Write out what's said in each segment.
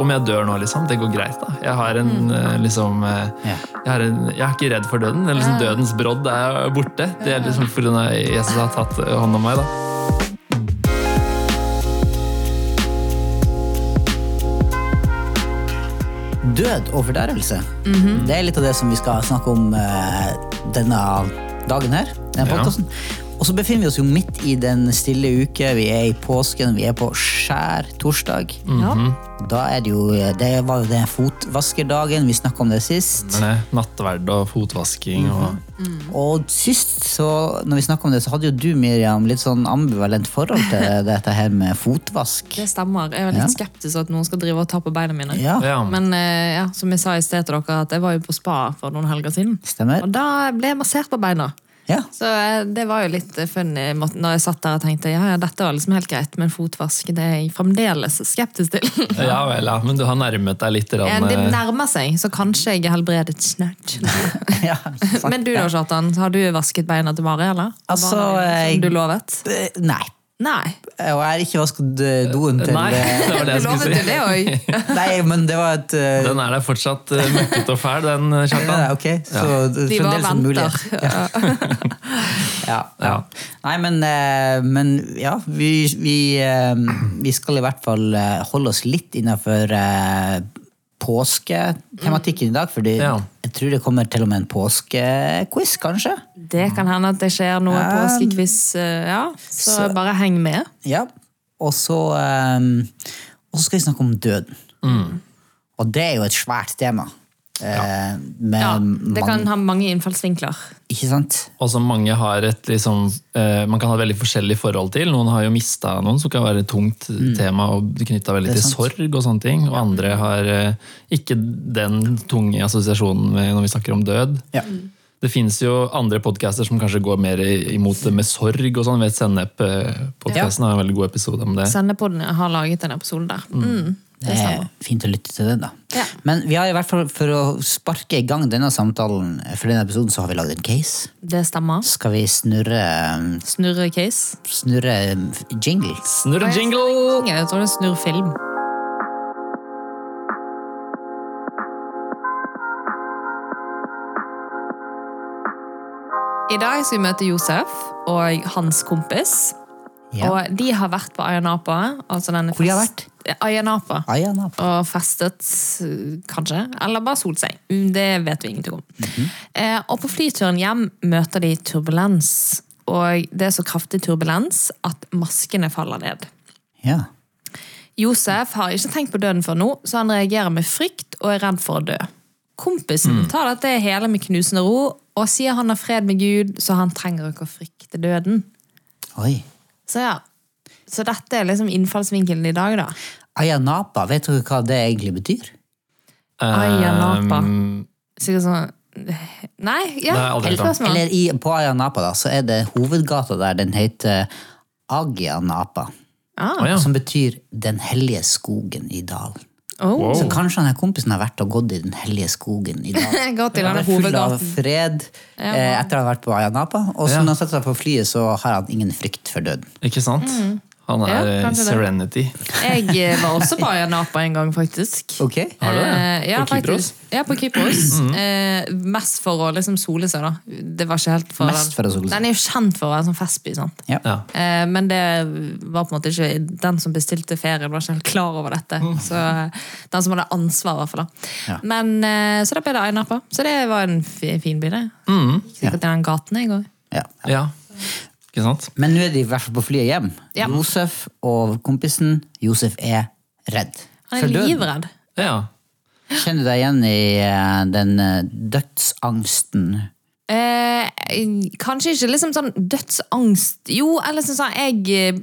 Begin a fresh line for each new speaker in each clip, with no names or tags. Om jeg dør nå, liksom. Det går greit, da. Jeg har en
Mm.
eh, liksom eh,
Ja.
jeg, har en, jeg er ikke redd for døden. Eller liksom, dødens brodd er borte. Det er liksom fordi Jesus har tatt eh, hånd om meg, da.
Død og fordervelse. Det er litt av det som vi skal snakke om eh, denne dagen her. Denne
Ja.
podcasten. Og så befinner vi oss jo midt i den stille uke. Vi er i påsken, vi er på skjær torsdag.
Ja.
Mhm. Da er det jo Det var jo den fotvaskerdagen, vi snakka om det sist.
Men, eh, Nattverd og fotvasking og
Mm. Og sist, så, når vi snakket om det, så hadde jo du, Miriam, litt sånn ambivalent forhold til dette her med fotvask.
Det stemmer. Jeg var litt skeptisk til at noen skal drive og ta på beina mine.
Ja,
Ja.
Men eh, ja, som jeg sa i sted til dere, at jeg var jo på spa for noen helger siden.
stemmer.
Og da ble jeg massert på beina.
Ja.
Så eh, det var jo litt eh, funny måten- når jeg satt der og tenkte ja, ja, dette var liksom helt greit, men fotvask det er jeg fremdeles skeptisk til.
Ja vel, ja. Men du har nærmet deg litt.
Ja,
Rann,
det
eh,
nærmer seg, så kanskje jeg er helbredet snart.
ja ikke sant.
Men du da, Kjartan, har du vasket beina til Mari, eller?
Altså,
Var det
jeg-
som du lovet?
Eh, Nei.
Nei.
Og jeg har ikke vasket eh, doen til
Nei,
eh,
det var det jeg
du lovet
skulle
jo
si.
det òg.
Nei, men det var et eh,
Den er der fortsatt eh, møkkete og fæl, den eh, Kjartan.
ja, Ok, så det er
De bare
fremdeles en
venter.
mulighet. Ja. ja.
Ja.
Nei, men, eh, men ja, vi, vi, eh, vi skal i hvert fall eh, holde oss litt innenfor eh, påsketematikken i dag, fordi
Ja.
jeg tror det kommer til og med en påskequiz, kanskje?
Det kan hende at det skjer noe
Ja.
påskekviss, eh, ja. Så,
Så-
bare heng med.
Ja. Og så, eh, og så skal vi snakke om døden. Og det er jo et svært tema. eh, Med
Ja, det
mange-
kan ha mange innfallsvinkler.
Ikke sant?
Og som mange har et liksom, eh, man kan ha veldig forskjellig forhold til. Noen har jo mista noen, som kan være et tungt tema og knytta veldig
Mm. Det er
til
sant.
sorg. Og sånne ting. Og andre har eh, ikke den tunge assosiasjonen med når vi snakker om død.
Ja.
Mm.
Det fins jo andre podcaster som kanskje går mer i- imot det med sorg. og sånn. Vet Sennep-podkasten har en veldig god episode om det.
Sendepodden har laget en episode der. Mm.
Det er Eh, fint å lytte til den, da.
Ja.
Men vi har i hvert fall, for å sparke i gang denne samtalen, for denne episoden, så har vi lagd en case.
Det stemmer.
Skal vi snurre,
Snurre case.
snurre jingle?
Snurr jingle!
Jeg tror det er snurr film. I dag skal vi møte Josef og hans kompis.
Ja.
Og de har vært på Ayanapa. Altså denne
Hvor de har
fest- Ayanapa.
Aya Napa.
Og festet, øh, kanskje. Eller bare solt seg. Mm, Det vet vi ingenting om.
Mhm.
eh, og på flyturen hjem møter de turbulens. Og det er så kraftig turbulens at maskene faller ned.
Ja.
Josef har ikke tenkt på døden før nå, så han reagerer med frykt og er redd for å dø. Kompisen
Mhm.
tar dette hele med knusende ro og sier han har fred med Gud, så han trenger ikke å frykte døden.
Oi.
Så ja. Så dette er liksom innfallsvinkelen i dag, da.
Aya Napa, vet dere hva det egentlig betyr?
Ayanapa.
Um,
Sikkert sånn Nei, ja.
Nei, aldri hørt om.
Eller spørsmål.
Eller i, på Aya Napa, da, så er det hovedgata der den heter Agia Napa.
Ah,
å ja.
Som betyr Den hellige skogen i dalen.
oh.
Så
Wow.
kanskje han her kompisen har vært og gått i Den hellige skogen i dalen.
Gå til
Han
denne
er full av
hovedgaten.
fred eh, etter å ha vært på Ayanapa. Og så
Ja.
når han setter seg på flyet, så har han ingen frykt for døden.
Ikke sant?
Mm.
Han
Ja,
er eh,
kanskje det.
serenity.
Jeg eh, var også på Ayanapa en gang, faktisk.
Ok?
Har du det?
Eh, ja,
På Kypros?
faktisk. Ja, på Kypros.
Mm.
eh, mest for å liksom sole seg, da. Det var ikke helt for
Mest for å sole seg.
Den er jo kjent for å være en sånn festby, sant.
Ja.
Ja.
Eh, men det var på en måte ikke den som bestilte ferien, var ikke helt klar over dette. Så eh, den som hadde ansvar, i hvert fall. da.
Mm. Ja.
Men, eh, så da ble det Ayanapa. Så det var en fi- fin by, det.
Mm.
Gikk Sikkert i den gaten jeg òg.
Ja.
ja. Ikke sant?
Men nå er de i hvert fall på flyet hjem.
Ja.
Josef og kompisen. Josef er redd.
Han er
for døden.
livredd.
Ja.
Kjenner du deg igjen i eh, den eh, dødsangsten?
Eh, kanskje ikke liksom sånn dødsangst Jo, eller sånn sånn jeg eh,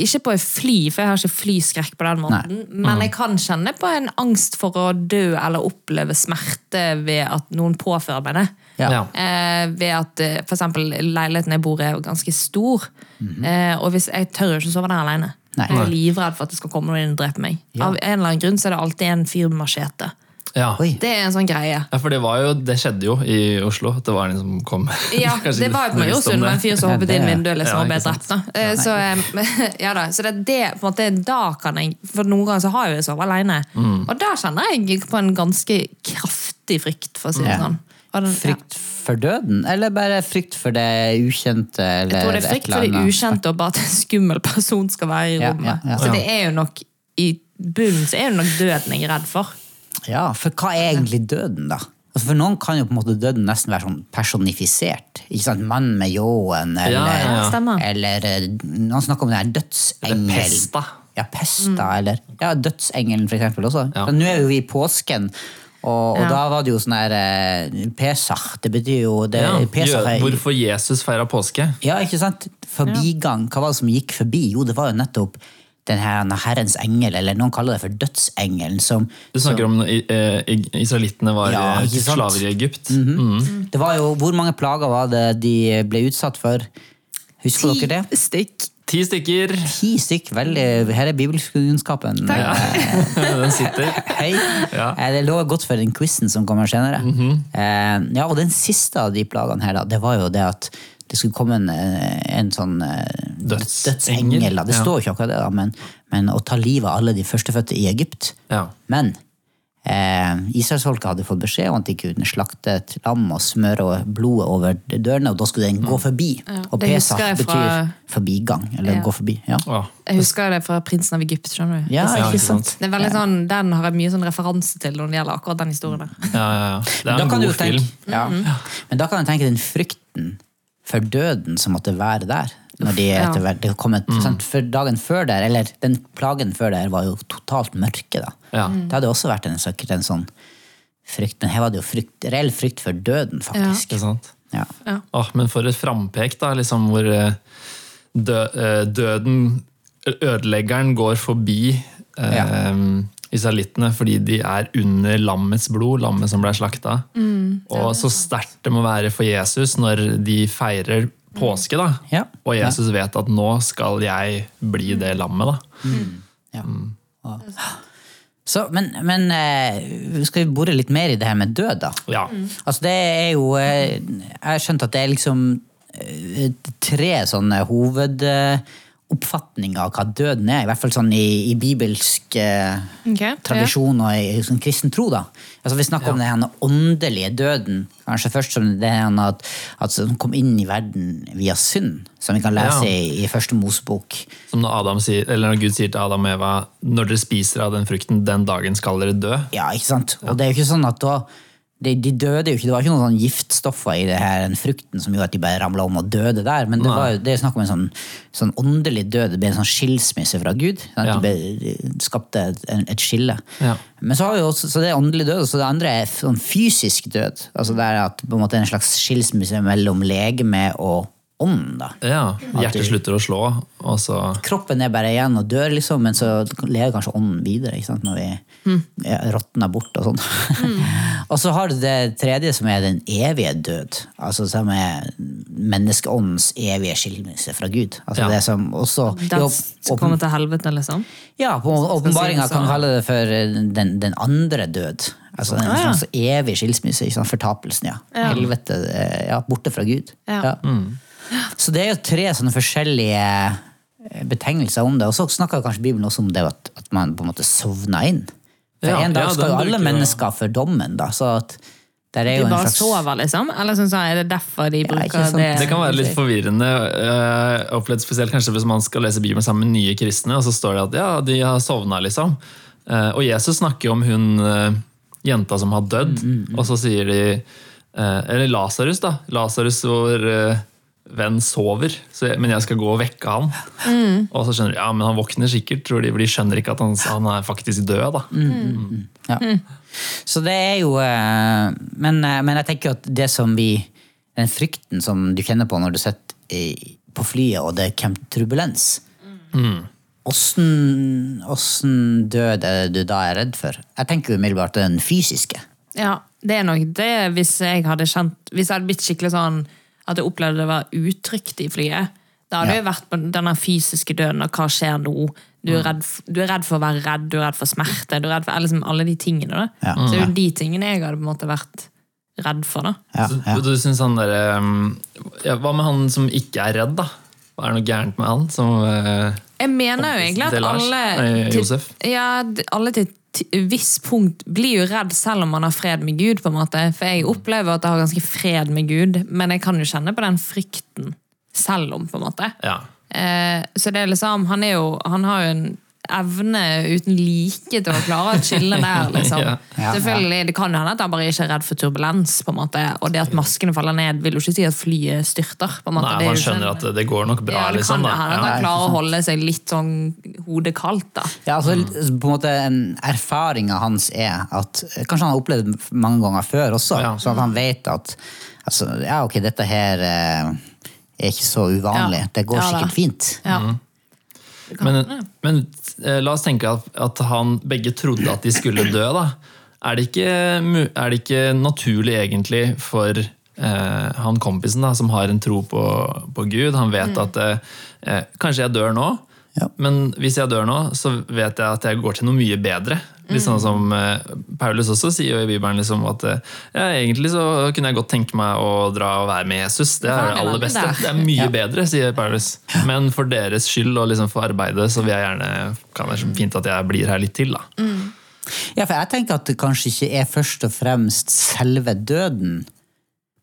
Ikke på et fly, for jeg har ikke flyskrekk på den måten.
Mm.
Men jeg kan kjenne på en angst for å dø eller oppleve smerte ved at noen påfører meg det.
Ja.
ja.
Eh, ved at eh, for eksempel leiligheten jeg bor i, er jo ganske stor. eh, og hvis, jeg tør jo ikke sove der alene.
Mhm. Nei.
Jeg er livredd for at det skal komme noen inn og drepe meg. Av en eller annen grunn så er det alltid en fyr med machete.
Ja.
Oi.
Det er en sånn greie.
ja, for det, var jo, det skjedde jo i Oslo. at Det var en som kom
Ja,
Kanskje
det var
litt
jo på
bevisst om
Majorsund med en fyr som
Ja,
hoppet
det-
inn vinduet liksom,
Ja,
og ble
ikke
drept. Da. Eh, Så, eh, ja, da. så det er det på en måte, da kan jeg For noen ganger så har jeg jo sovet alene.
Mm.
Og da kjenner jeg på en ganske kraftig frykt, for å si det
Ja.
sånn. Og den-
Frykt for døden, eller bare frykt for det ukjente? Eller
Jeg tror det er
eh, et
frykt
eller
for det
annet?
ukjente og bare at en skummel person skal være i
Ja,
rommet.
ja, ja.
Så det er jo nok i bunnen så er det nok døden jeg er redd for.
Ja, for hva er egentlig døden, da? Altså for noen kan jo på en måte døden nesten være sånn personifisert. Ikke sant? Mann med ljåen, eller,
Ja, ja,
ja. Stemmer.
eller eh, Noen snakker om den her dødsengelen.
Eller pesta.
Ja, pesta,
Mm.
eller Ja, dødsengelen, for eksempel, også.
Ja.
Men Nå er jo vi i påsken. Og, og
Ja.
da var det jo sånn her eh, Pesach, det betyr jo det,
Ja,
Pesach
jø-
er
hvorfor Jesus feira påske.
Ja, ikke sant? Forbigang. Hva var det som gikk forbi? Jo, det var jo nettopp den her den Herrens engel, eller noen kaller det for dødsengelen, som
Du snakker om i- eh, i- israelittene var
Ja,
eh,
ikke sant? Mhm.
slaver i Egypt.
Det var jo, Hvor mange plager var det de ble utsatt for? Husker dere det?
stykk.
Ti stykker!
Ti stykk, veldig, Her er bibelkunnskapen
Ja.
eh,
Den sitter.
høy.
Ja. Mhm.
Eh, Det lå godt for den quizen som kommer senere. Eh, ja, Og den siste av de plagene her, da, det var jo det at det skulle komme en, eh, en sånn eh,
Dødsengel.
dødsengel. Da. Det
Ja.
står jo ikke akkurat det, da, men, men å ta livet av alle de førstefødte i Egypt.
Ja.
Men eh, Israelsfolket hadde fått beskjed om at de ikke kunne slakte et lam og smøre blodet over dørene, og da skulle den gå forbi. Og
det husker
Pesach
jeg
betyr
fra-
forbigang, eller
Ja.
gå forbi. Ja,
Åh.
Jeg husker det fra 'Prinsen av Egypt'. skjønner du?
ja
Ja,
ikke
ikke
sant?
sant.
Det er veldig sånn, Den har jeg mye sånn referanse til når det gjelder akkurat den historien. der.
Ja, ja, ja. Det er
Da
en
kan du
god
jo tenke,
film.
ja. Men da kan du tenke den frykten for døden som måtte være der. Når de
ja.
etter hvert, det kom et,
Mm.
sant, for dagen før der, eller den plagen før der, var jo totalt mørke. da.
Ja.
Det hadde også vært en, sikkert en sånn frykt, men her var det jo frykt, reell frykt for døden, faktisk.
Ikke sant?
Ja.
Åh, Ah, men for et frampek, da. Liksom hvor eh, dø, eh, døden, ødeleggeren, går forbi eh, israelittene fordi de er under lammets blod, lammet som ble slakta.
Mm.
og så sterkt det må være for Jesus når de feirer påske, da.
Ja. Mm.
Og Jesus vet at nå skal jeg bli det lammet, da.
Ja. Og- Så, men men eh, skal vi bore litt mer i det her med død, da?
Ja.
Altså det er jo eh, Jeg har skjønt at det er liksom eh, tre sånne hovedoppfatninger av hva døden er. I hvert fall sånn i, i bibelsk eh,
Ok, ja.
tradisjon og i, i sånn kristen tro. da. Altså Vi snakker om den her åndelige døden. Kanskje først som det her at, at som kom inn i verden via synd, som vi kan lese
Ja.
i, i første Mosebok.
Som når, Adam sier, eller når Gud sier til Adam og Eva når dere spiser av den frukten, den dagen skal dere dø.
Ja, ikke sant? Og det er jo ikke sånn at da de, de døde jo ikke, det var ikke noen sånn giftstoffer i det her, den frukten som gjorde at de bare ramla om og døde der, men det, var, jo- det er snakk om en sånn, sånn åndelig død, det ble en sånn skilsmisse fra Gud. sånn At
Ja.
de ble, de skapte et, en- et skille.
Ja.
Men så, har vi jo også, så det er åndelig død, og så det andre er sånn fysisk død. altså Det er at på en måte en slags skilsmisse mellom legeme og ånd. da.
Ja, Hjertet slutter å slå, og så
Kroppen er bare igjen og dør, liksom, men så lever kanskje ånden videre ikke sant? når vi ja, råtner bort og sånn. og så har du det tredje, som er den evige død. Altså som er menneskeåndens evige skilnelse fra Gud. Altså
Ja.
det som også
Den som kommer til helvete, liksom.
ja, på åpenbaringa kan man kalle det for eh, den, den andre død. Altså den
Ah, ja.
slags evig skilsmisse, ikke sant? fortapelsen, ja. Helvete, eh, ja, borte fra Gud.
Ja.
Så det er jo tre sånne forskjellige eh, betegnelser om det. Og så snakker kanskje Bibelen også om det at, at man på en måte sovna inn. For
Ja,
en dag
ja,
skal jo
den
alle
bruker-
mennesker for dommen, da. Så at der er
De
jo en
bare
slags
sover, liksom? Eller sånn, så er det derfor de
ikke
bruker
sant.
Det kan være litt forvirrende, eh, opplevd spesielt kanskje hvis man skal lese Bibelen sammen med nye kristne, og så står det at ja, de har sovna, liksom. Eh, Og Jesus snakker jo om hun eh, jenta som har dødd, og så sier de eh, Eller Lasarus, da. Lasarus, vår eh, venn, sover, så jeg, men jeg skal gå og vekke han. Og så skjønner de ja, men han våkner sikkert, tror de, for de skjønner ikke at han, han er faktisk død. da.
Ja.
Mm.
Så det er jo eh, men, eh, men jeg tenker at det som vi Den frykten som du kjenner på når du sitter i- på flyet og det kommer turbulens Åssen åssen død er det du da er redd for? Jeg tenker jo umiddelbart den fysiske.
Ja, det er nok det hvis jeg hadde kjent Hvis jeg hadde blitt skikkelig sånn at jeg opplevde det var utrygt i flyet, da Da har du jo vært på denne fysiske døden, og hva skjer nå? Du
Mm.
er, redd, f- du er redd for å være redd, du er redd for smerte, du er redd for liksom alle de tingene. Da.
Ja. Mm.
Så det er jo de tingene jeg hadde på en måte vært redd for. da.
Ja,
Så
ja.
Du, du synes han der, um, ja, Hva med han som ikke er redd, da? Er det noe gærent med han? Som, eh,
Jeg mener jo
Kompisen
egentlig at
til Lars,
alle
nei, Josef.
ja, d- alle til et visst punkt blir jo redd selv om man har fred med Gud. på en måte. For jeg opplever at jeg har ganske fred med Gud, men jeg kan jo kjenne på den frykten selv om. på en måte.
ja.
Eh, så det er liksom, han, er jo, han har jo en evne uten like til å klare å chille der, liksom.
Ja.
Ja,
Selvfølgelig, Det kan jo hende at han bare ikke er redd for turbulens, på en måte. og det at maskene faller ned, vil jo ikke si at flyet styrter. på en måte.
Nei,
Det er
man
jo ikke-
skjønner at det, det går nok bra,
ja, det
liksom.
kan
Da.
jo hende at
Ja.
han klarer å holde seg litt sånn hodet kaldt, da.
Ja, altså på en måte Erfaringa hans er at Kanskje han har opplevd det mange ganger før også,
Ja.
så at han vet at altså, ja, ok, dette her eh, er ikke så uvanlig.
Ja.
Det går
Ja, da.
sikkert fint.
Ja.
Mm. Men, men eh, la oss tenke at, at han begge trodde at de skulle dø, da. Er det ikke, mu- er det ikke naturlig egentlig for eh, han kompisen da, som har en tro på, på Gud? Han vet
Mm.
at eh, eh, kanskje jeg dør nå,
Ja.
men hvis jeg dør nå, så vet jeg at jeg går til noe mye bedre. Litt
Mm.
sånn som eh, Paulus også sier jo i Bibelen liksom at eh, ja, egentlig så kunne jeg godt tenke meg å dra og være med Jesus. Det
han
er
er
det aller
veldig
beste.
der.
Det er mye bedre, sier Paulus. Men for deres skyld og liksom for arbeidet, så vil jeg gjerne kan det være fint at jeg blir her litt til. da.
Mm. Ja, for jeg tenker at det kanskje ikke er først og fremst selve døden,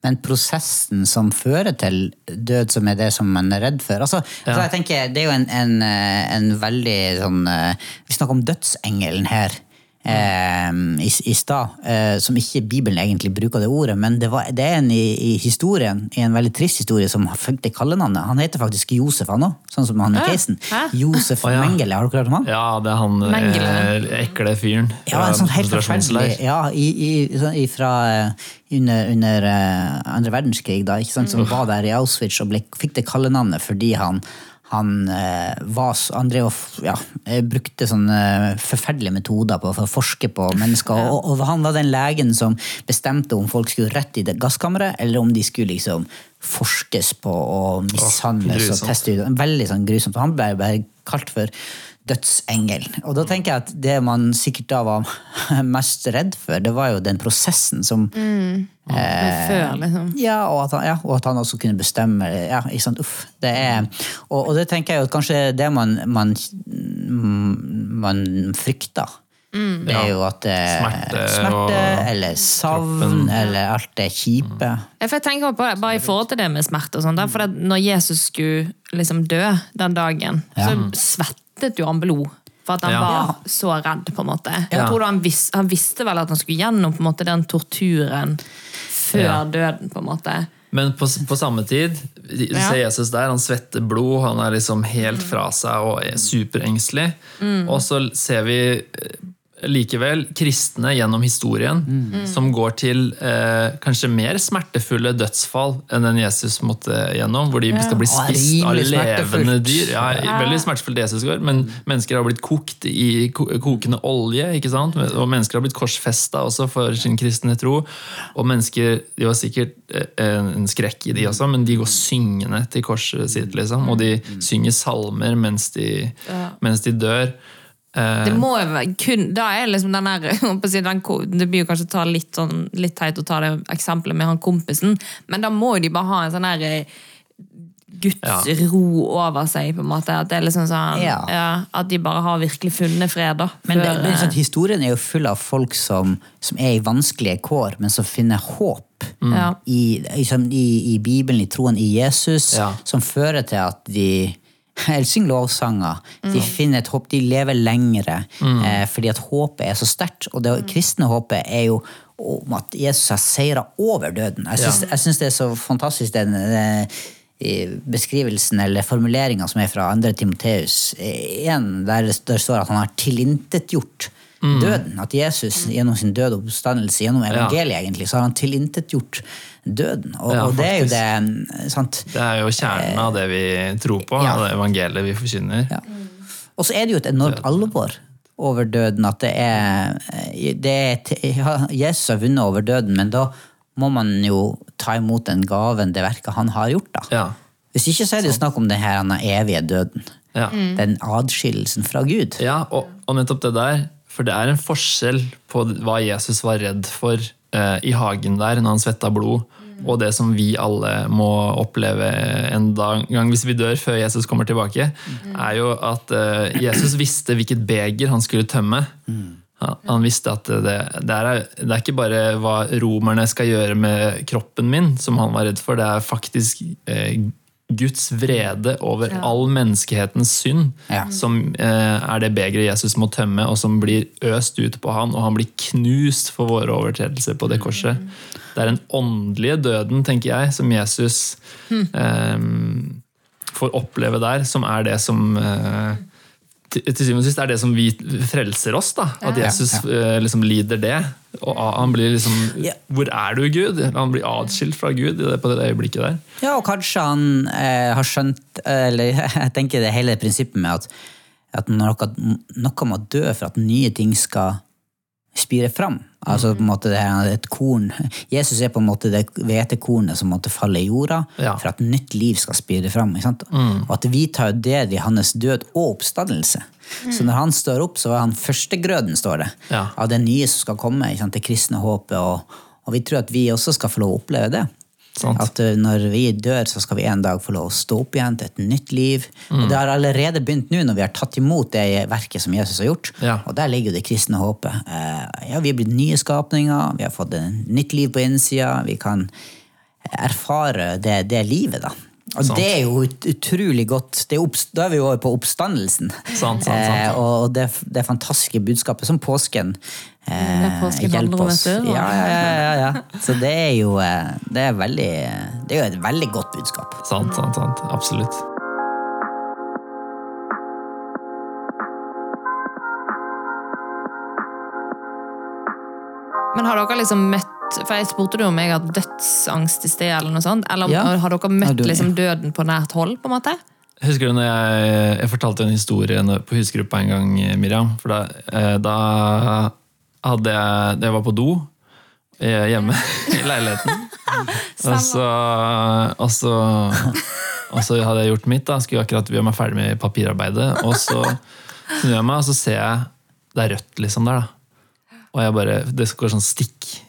men prosessen som fører til død, som er det som man er redd for. Altså, altså jeg tenker, Det er jo en, en, eh, en veldig sånn eh, Vi snakker om dødsengelen her. Eh, i, I stad, eh, som ikke Bibelen egentlig bruker det ordet, men det, var, det er en i, i historien, i en veldig trist historie, som fulgte kallenavnet. Han heter faktisk Josef, han òg, sånn som han i casen.
Hæ?
Josef Mengele, har du klart om han?
Ja, det er han
Mengele.
eh, ekle fyren.
Ja,
fra
en sånn helt forferdelig
konsentrasjonsleir.
ja, i, i, sånn, ifra, eh, under, under eh, andre verdenskrig, da, ikke sant,
Mm.
som var der i Auschwitz og ble, fikk det kallenavnet fordi han, han eh, var så- han drev og f- ja, eh, brukte sånne eh, forferdelige metoder på, for å forske på mennesker. Og, og han var den legen som bestemte om folk skulle rett i det gasskammeret, eller om de skulle liksom forskes på og mishandles og
grusomt.
testes studio. Veldig sånn grusomt. Han ble bare kalt for dødsengel. Og da tenker jeg at det man sikkert da var mest redd for, det var jo den prosessen som
Men før, liksom.
ja og, at han, ja, og at han også kunne bestemme. Ja, ikke sant? Uff, det er, og, og det tenker jeg jo at kanskje det man, man, man frykter. Det er jo at eh,
Smerte og-
smerte eller savn, eller alt det kjipe.
Mm.
Ja, for jeg tenker på, bare i forhold til det med smerte og sånt, da, for at når Jesus skulle liksom dø den dagen, så svettet jo han blod. For at han
Ja.
var så redd, på en måte. Jeg
Ja.
tror da han, vis, han visste vel at han skulle gjennom på en måte, den torturen før
Ja.
døden, på en måte.
Men på, på samme tid, du
Ja.
ser Jesus der, han svetter blod, han er liksom
Mm.
helt fra seg og er superengstelig. Og så ser vi eh, likevel kristne gjennom historien
Mm.
som går til eh, kanskje mer smertefulle dødsfall enn den Jesus måtte gjennom, hvor de skal bli
Og er
spist av
rimelig
levende
smertefullt. Mm.
dyr. Ja, Veldig smertefullt Jesus går, men mennesker har blitt kokt i ko- kokende olje, ikke sant? og mennesker har blitt korsfesta også for sin kristne tro. Og mennesker, de var sikkert eh, en skrekk i de også, men de går syngende til korset sitt, liksom. Og de
Mm.
synger salmer mens de, mens de dør. Eh,
Det må jo være kun, da er liksom den her, jeg holdt på å si, den, ko- det blir jo kanskje å ta litt, sånn, litt teit å ta det eksempelet med han kompisen, men da må jo de bare ha en sånn her eh, Guds
Ja.
ro over seg, på en måte. At, det er liksom sånn, ja.
Ja.
at de bare har virkelig funnet fred. da.
Men det,
Før,
det er
eh,
sånn, at historien er jo full av folk som, som er i vanskelige kår, men som finner håp
ja.
i, liksom, i, i Bibelen, i troen i Jesus,
Ja.
som fører til at de eller synger lovsanger. De
Mm.
finner et håp, de lever lengre eh, fordi at håpet er så sterkt. Og
Mm.
det kristne håpet er jo om at Jesus har seira over døden. Jeg syns,
Ja.
jeg syns det er så fantastisk den, eh, i beskrivelsen eller formuleringa som er fra 2. Timoteus 1, der det der står at han har tilintetgjort
Mm.
døden. At Jesus gjennom sin død og oppstandelse, gjennom evangeliet, egentlig, så har han tilintetgjort døden. Og,
Ja,
og det er jo
faktisk.
det eh, sant?
Det er jo kjernen av det vi tror på,
Eh. Ja.
av det evangeliet vi forkynner.
Ja. Og så er det jo et enormt alvor over døden. At det er, det er et- ja, Jesus har vunnet over døden, men da må man jo ta imot den gaven, det verket han har gjort. da.
Ja.
Hvis ikke så er det jo snakk om den her den evige døden.
Ja.
Den adskillelsen fra Gud.
Ja, og, og nettopp det der. For det er en forskjell på hva Jesus var redd for eh, i hagen der når han svetta blod, og det som vi alle må oppleve en dag, gang hvis vi dør før Jesus kommer tilbake, er jo at eh, Jesus visste hvilket beger han skulle tømme. Han, han visste at det, det, er, det er ikke bare hva romerne skal gjøre med kroppen min, som han var redd for, det er faktisk eh, Guds vrede over all menneskehetens synd,
Ja.
som eh, er det begeret Jesus må tømme, og som blir øst ut på han, og han blir knust for våre overtredelser på det korset. Det er den åndelige døden, tenker jeg, som Jesus eh, får oppleve der, som er det som eh, til til syvende og sist er det som vi frelser oss. da, At Jesus eh, liksom lider det. og a- han blir liksom,
Ja.
Hvor er du, Gud? Han blir atskilt fra Gud i det, på det øyeblikket der.
Ja, og kanskje han eh, har skjønt Eller jeg tenker det hele prinsippet med at, at noe, noe må dø for at nye ting skal spire fram. Altså på en måte det er et korn. Jesus er på en måte det hvetekornet som måtte falle i jorda
Ja. Mm.
for at nytt liv skal spire fram. Ikke sant? Og at vi tar jo del i hans død og oppstandelse. Så når han står opp, så er han førstegrøden, står det.
Mm. Ja.
Av det nye som skal komme. Ikke sant? Det kristne håpet. Og, og vi tror at vi også skal få lov å oppleve det.
Sant.
At uh, når vi dør, så skal vi en dag få lov å stå opp igjen til et nytt liv.
Mm.
Og det har allerede begynt nå, når vi har tatt imot det verket som Jesus har gjort.
Ja.
Og der ligger jo det kristne håpet. Eh, Ja, vi er blitt nye skapninger, vi har fått et nytt liv på innsida, vi kan erfare det, det livet, da. Og
Sant.
det er jo ut- utrolig godt. Det er opps- da er vi jo over på oppstandelsen.
Sant, sant, sant.
Eh, og det, det fantastiske budskapet som påsken eh,
Mm, Det er påsken
hjelper
handler om
oss.
dette, da.
Ja, ja, ja, ja, ja. Så det er jo eh, det er veldig, det er jo et veldig godt budskap.
Sant, sant, sant. Absolutt.
Men har dere liksom møtt For jeg spurte du om jeg har dødsangst i sted, eller noe sånt. Eller om-
Ja.
har dere
Ja,
møtt
du-
liksom døden på nært hold, på en måte?
Husker du når jeg, jeg fortalte en historie når- på husgruppa en gang, Miriam? For da, eh, da hadde jeg Jeg var på do eh, hjemme i leiligheten. Og så, og, så, og så hadde jeg gjort mitt, da. skulle akkurat gjøre meg ferdig med papirarbeidet. Og så snur jeg meg, og så ser jeg det er rødt liksom der. da. Og jeg bare, det går sånn stikk.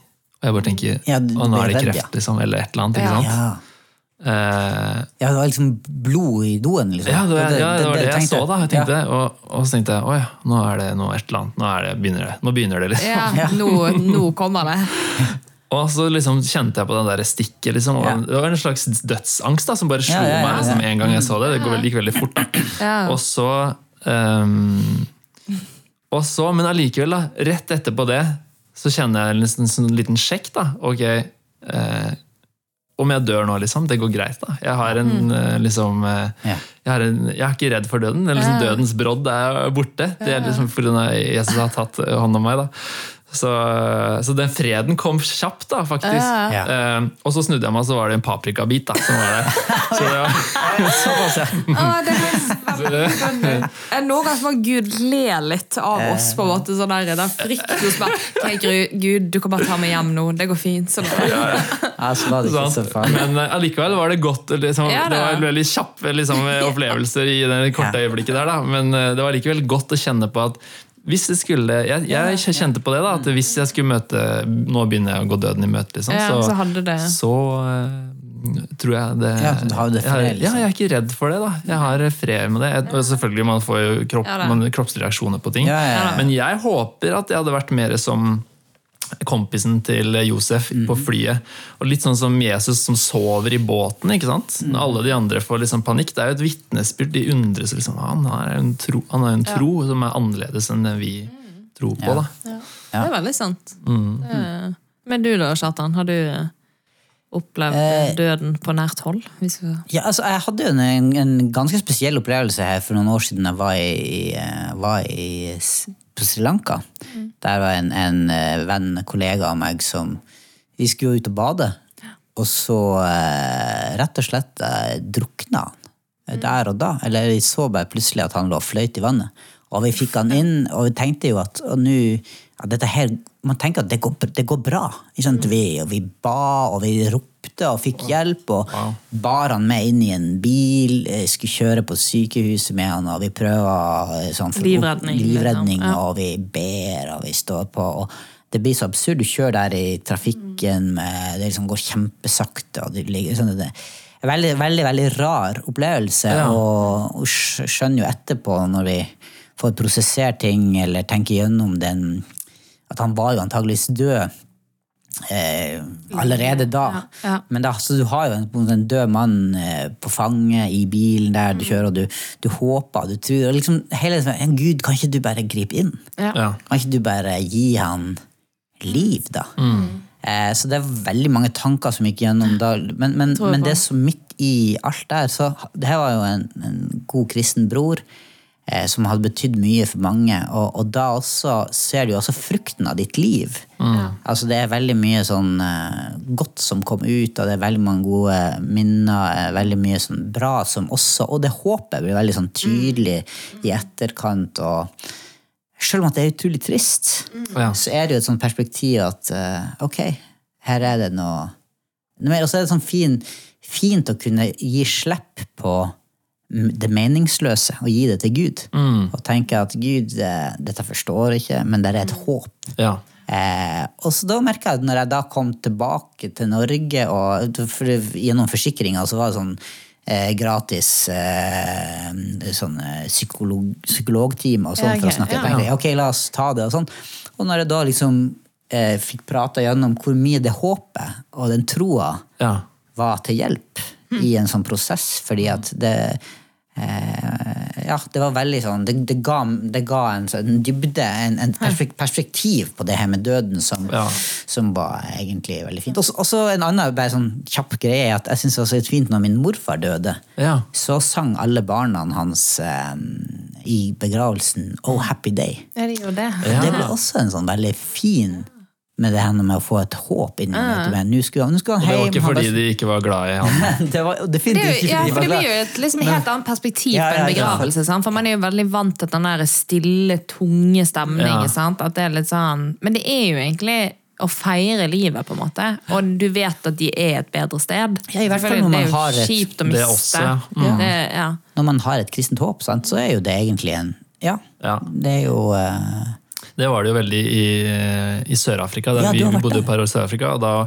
Og jeg bare tenker
Ja, du
Å, nå er
blir
det
redd,
kreft, liksom. Eller et eller annet.
Ja.
ikke sant?
Ja.
Eh,
ja, det var liksom blod i doen, liksom.
ja, det, ja, det var det jeg
tenkte
så da. Jeg tenkte, og, og så tenkte jeg oi, nå er det noe et eller annet. Nå, er det, begynner det. nå begynner det, liksom.
Ja, nå, nå kommer det.
Og så liksom kjente jeg på den der stikket. Liksom, og
Ja.
Det var en slags dødsangst da, som bare slo
Ja, ja, ja,
meg liksom, en gang jeg så det. Det går veldig, gikk veldig fort. Da.
Ja.
Og så ehm, og så, Men allikevel, da, rett etterpå det, så kjenner jeg nesten en sånn liten sjekk. da, ok, eh, Om jeg dør nå, liksom. Det går greit. da. Jeg har en eh, liksom eh,
Ja.
jeg, har en, jeg er ikke redd for døden. Eller liksom, Dødens brodd er borte. Det er liksom fordi Jesus har tatt eh, hånd om meg. da. Så, så den freden kom kjapt, da, faktisk.
Ja.
Eh, og så snudde jeg meg, og så var det en paprikabit. da, som var der. Så det var...
Å, det var veldig spennende. Eh, Noen ganger må Gud le litt av oss, på en måte. sånn der, Den frykten hos meg. Ok, Gru- Gud, du kan bare ta meg hjem nå. Det går fint. Sånn.
Ja, så var det ikke så
Sant.
farlig.
Men eh, allikevel var det godt. Liksom,
Ja, da.
det var veldig kjappe liksom, opplevelser i det korte øyeblikket der, da. Men eh, det var likevel godt å kjenne på at hvis det skulle, jeg, jeg kjente på det da, at hvis jeg skulle møte Nå begynner jeg å gå døden i møte, liksom.
Ja, så hadde det.
så, eh, tror jeg det
Ja, så du har jo det
jeg, har-
fred, liksom.
ja, jeg er ikke redd for det, da. Jeg har fred med det. Jeg, og selvfølgelig, man får jo kropp,
Ja, da.
man, kroppsreaksjoner på ting.
Ja, ja, ja.
Men jeg håper at jeg hadde vært mer som kompisen til Josef på
Mm.
flyet. Og litt sånn som Jesus som sover i båten. ikke sant?
Mm.
Når alle de andre får liksom panikk. Det er jo et vitnesbyrd. De undres liksom. Han har en tro, han har en tro som er annerledes enn den vi
Mm.
tror på. da.
Det er veldig sant. Det- Men du da, Kjartan? Har du eh, opplevd
Eh.
døden på nært hold? Hvis vi-
Ja, altså, jeg hadde jo en, en ganske spesiell opplevelse her for noen år siden jeg var, i, eh, var i, S- på Sri Lanka. Der var en, en eh, venn, kollega av meg, som Vi skulle jo ut og bade, og så eh, rett og slett eh, drukna han. eh, Der og da. Eller vi så bare plutselig at han lå og fløyt i vannet. Og vi fikk han inn, og vi tenkte jo at og nå ja, dette her, man tenker at det går, det går bra. Ikke
Mm.
sant? Vi, og vi ba, og vi ropte og fikk hjelp. Og bar han med inn i en bil, eh, skulle kjøre på sykehuset med han, og vi prøver eh, sånn, for-
Livredning,
livredning,
liksom. Ja.
og vi ber, og vi står på. og det blir så absurd. Du kjører der i trafikken,
Mm.
med, det liksom går kjempesakte. og det ligger sånn, det, er veldig, veldig, veldig rar opplevelse.
Ja.
Og, og skj- skjønner jo etterpå, når vi får prosessert ting, eller tenker gjennom den, at han var jo antageligvis død. Eh, allerede da.
Ja, ja.
Men da, så du har jo en, på en måte en død mann eh, på fanget i bilen der
Mm.
du kjører, og du, du håper du tror og liksom, hele, tiden, Gud, kan ikke du bare gripe inn?
Ja.
Ja.
Kan ikke du bare gi han liv, da? Eh, så det er veldig mange tanker som gikk gjennom da. Men, men,
tror jeg
men
på.
det som midt i alt der, så det her var jo en, en god kristen bror eh, som hadde betydd mye for mange. Og, og da også ser du jo også frukten av ditt liv.
Mm.
Altså Det er veldig mye sånn eh, godt som kom ut, og det er veldig mange gode minner. eh, Veldig mye sånn bra som også Og det håpet blir veldig sånn tydelig i etterkant. og selv om at det er utrolig trist,
Ja.
så er det jo et sånt perspektiv at eh, ok, her er det noe Noe mer, Og så er det sånn fin, fint å kunne gi slipp på m- det meningsløse og gi det til Gud.
Mm.
Og tenke at Gud, eh, dette forstår jeg ikke, men det er et håp.
Ja.
Eh, og så da merket jeg at når jeg da kom tilbake til Norge, og for, gjennom forsikringa så var det sånn eh, gratis eh, sånn, eh, psykolog, psykologtime og sånn
Ja,
for å
ok,
snakke.
ja.
Jeg tenkte, ok, la oss ta det og sånn. Og når jeg da liksom eh, fikk prata gjennom hvor mye det håpet og den troa
Ja.
var til hjelp
Mm.
i en sånn prosess, fordi at det eh, Ja, det var veldig sånn Det, det, ga, det ga en sånn dybde, en, en perfek- perspektiv på det her med døden som,
Ja.
som var egentlig veldig fint. Og så- Og så en annen bare sånn kjapp greie er at jeg syns det var så fint når min morfar døde.
Ja.
Så sang alle barna hans eh, i begravelsen 'Oh Happy Day'.
Ja, de gjorde det.
Det ble også en sånn veldig fin med det her med å få et håp inni meg. at Nå skulle, han- nå skulle
Og
han
det
hjem.
var ikke
han bare-
fordi de ikke var glad i han.
det var og definitivt
Det er jo,
ikke
ja,
fordi
for
det
det
var
blir jo et liksom, helt annet perspektiv
Ja,
på
ja,
en
ja.
begravelse. Sant? For man er jo veldig vant til den der stille, tunge stemningen.
Ja.
Sant? At det er litt sånn, men det er jo egentlig å feire livet, på en måte. Og du vet at de er et bedre sted.
Ja, i hvert fall
Selvfølgelig,
når man
det er jo
har et-
kjipt å
Det er
miste.
også, mm. ja.
Det, ja.
Når man har et kristent håp, sant, så er jo det egentlig en Ja.
Ja.
Det er jo eh,
Det var det jo veldig i, i Sør-Afrika. Der
Ja, du
vi
har vært
bodde
der.
et par år i Sør-Afrika. og Da,